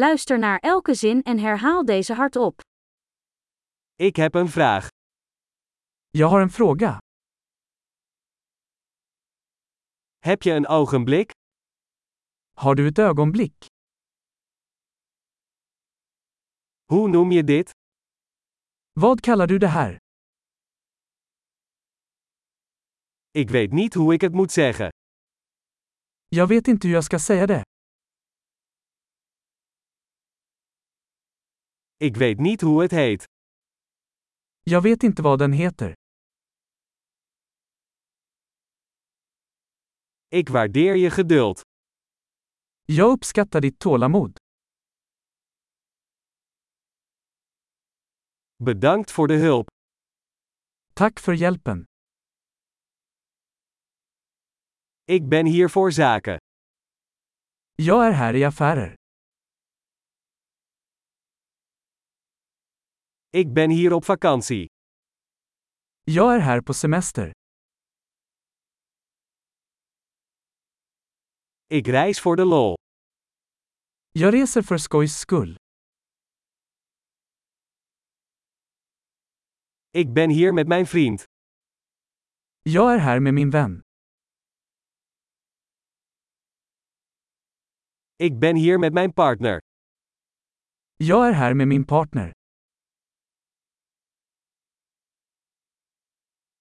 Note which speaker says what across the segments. Speaker 1: Luister naar elke zin en herhaal deze hardop.
Speaker 2: Ik heb een vraag.
Speaker 3: Jag har en fråga.
Speaker 2: Heb je een ogenblik?
Speaker 3: Har du ett ögonblick?
Speaker 2: Hoe noem je dit?
Speaker 3: Vad kallar du det här?
Speaker 2: Ik weet niet hoe ik het moet zeggen.
Speaker 3: Jag vet inte hur jag ska säga det.
Speaker 2: Ik weet niet hoe het heet.
Speaker 3: Jag vet inte vad den heter.
Speaker 2: Ik waardeer je geduld.
Speaker 3: Jag uppskattar ditt tålamod.
Speaker 2: Bedankt voor de hulp.
Speaker 3: Tack för hjälpen.
Speaker 2: Ik ben hier voor zaken.
Speaker 3: Jag är här i affärer.
Speaker 2: Ik ben hier op vakantie.
Speaker 3: Jag är här på semester.
Speaker 2: Ik reis voor de lol.
Speaker 3: Jag reser för skojs skull.
Speaker 2: Ik ben hier met mijn vriend.
Speaker 3: Jag är här med min vän.
Speaker 2: Ik ben hier met mijn partner.
Speaker 3: Jag är här med min partner.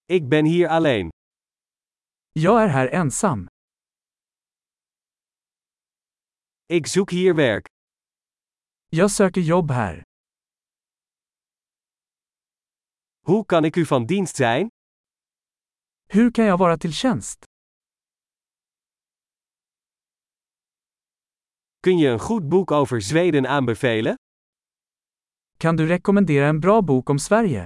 Speaker 2: Ik ben hier alleen.
Speaker 3: Jag är här ensam.
Speaker 2: Ik zoek hier werk.
Speaker 3: Jag söker jobb här.
Speaker 2: Hoe kan ik u van dienst zijn?
Speaker 3: Hur kan jag vara till tjänst?
Speaker 2: Kun je een goed boek over Zweden aanbevelen?
Speaker 3: Kan du rekommendera en bra bok om Sverige?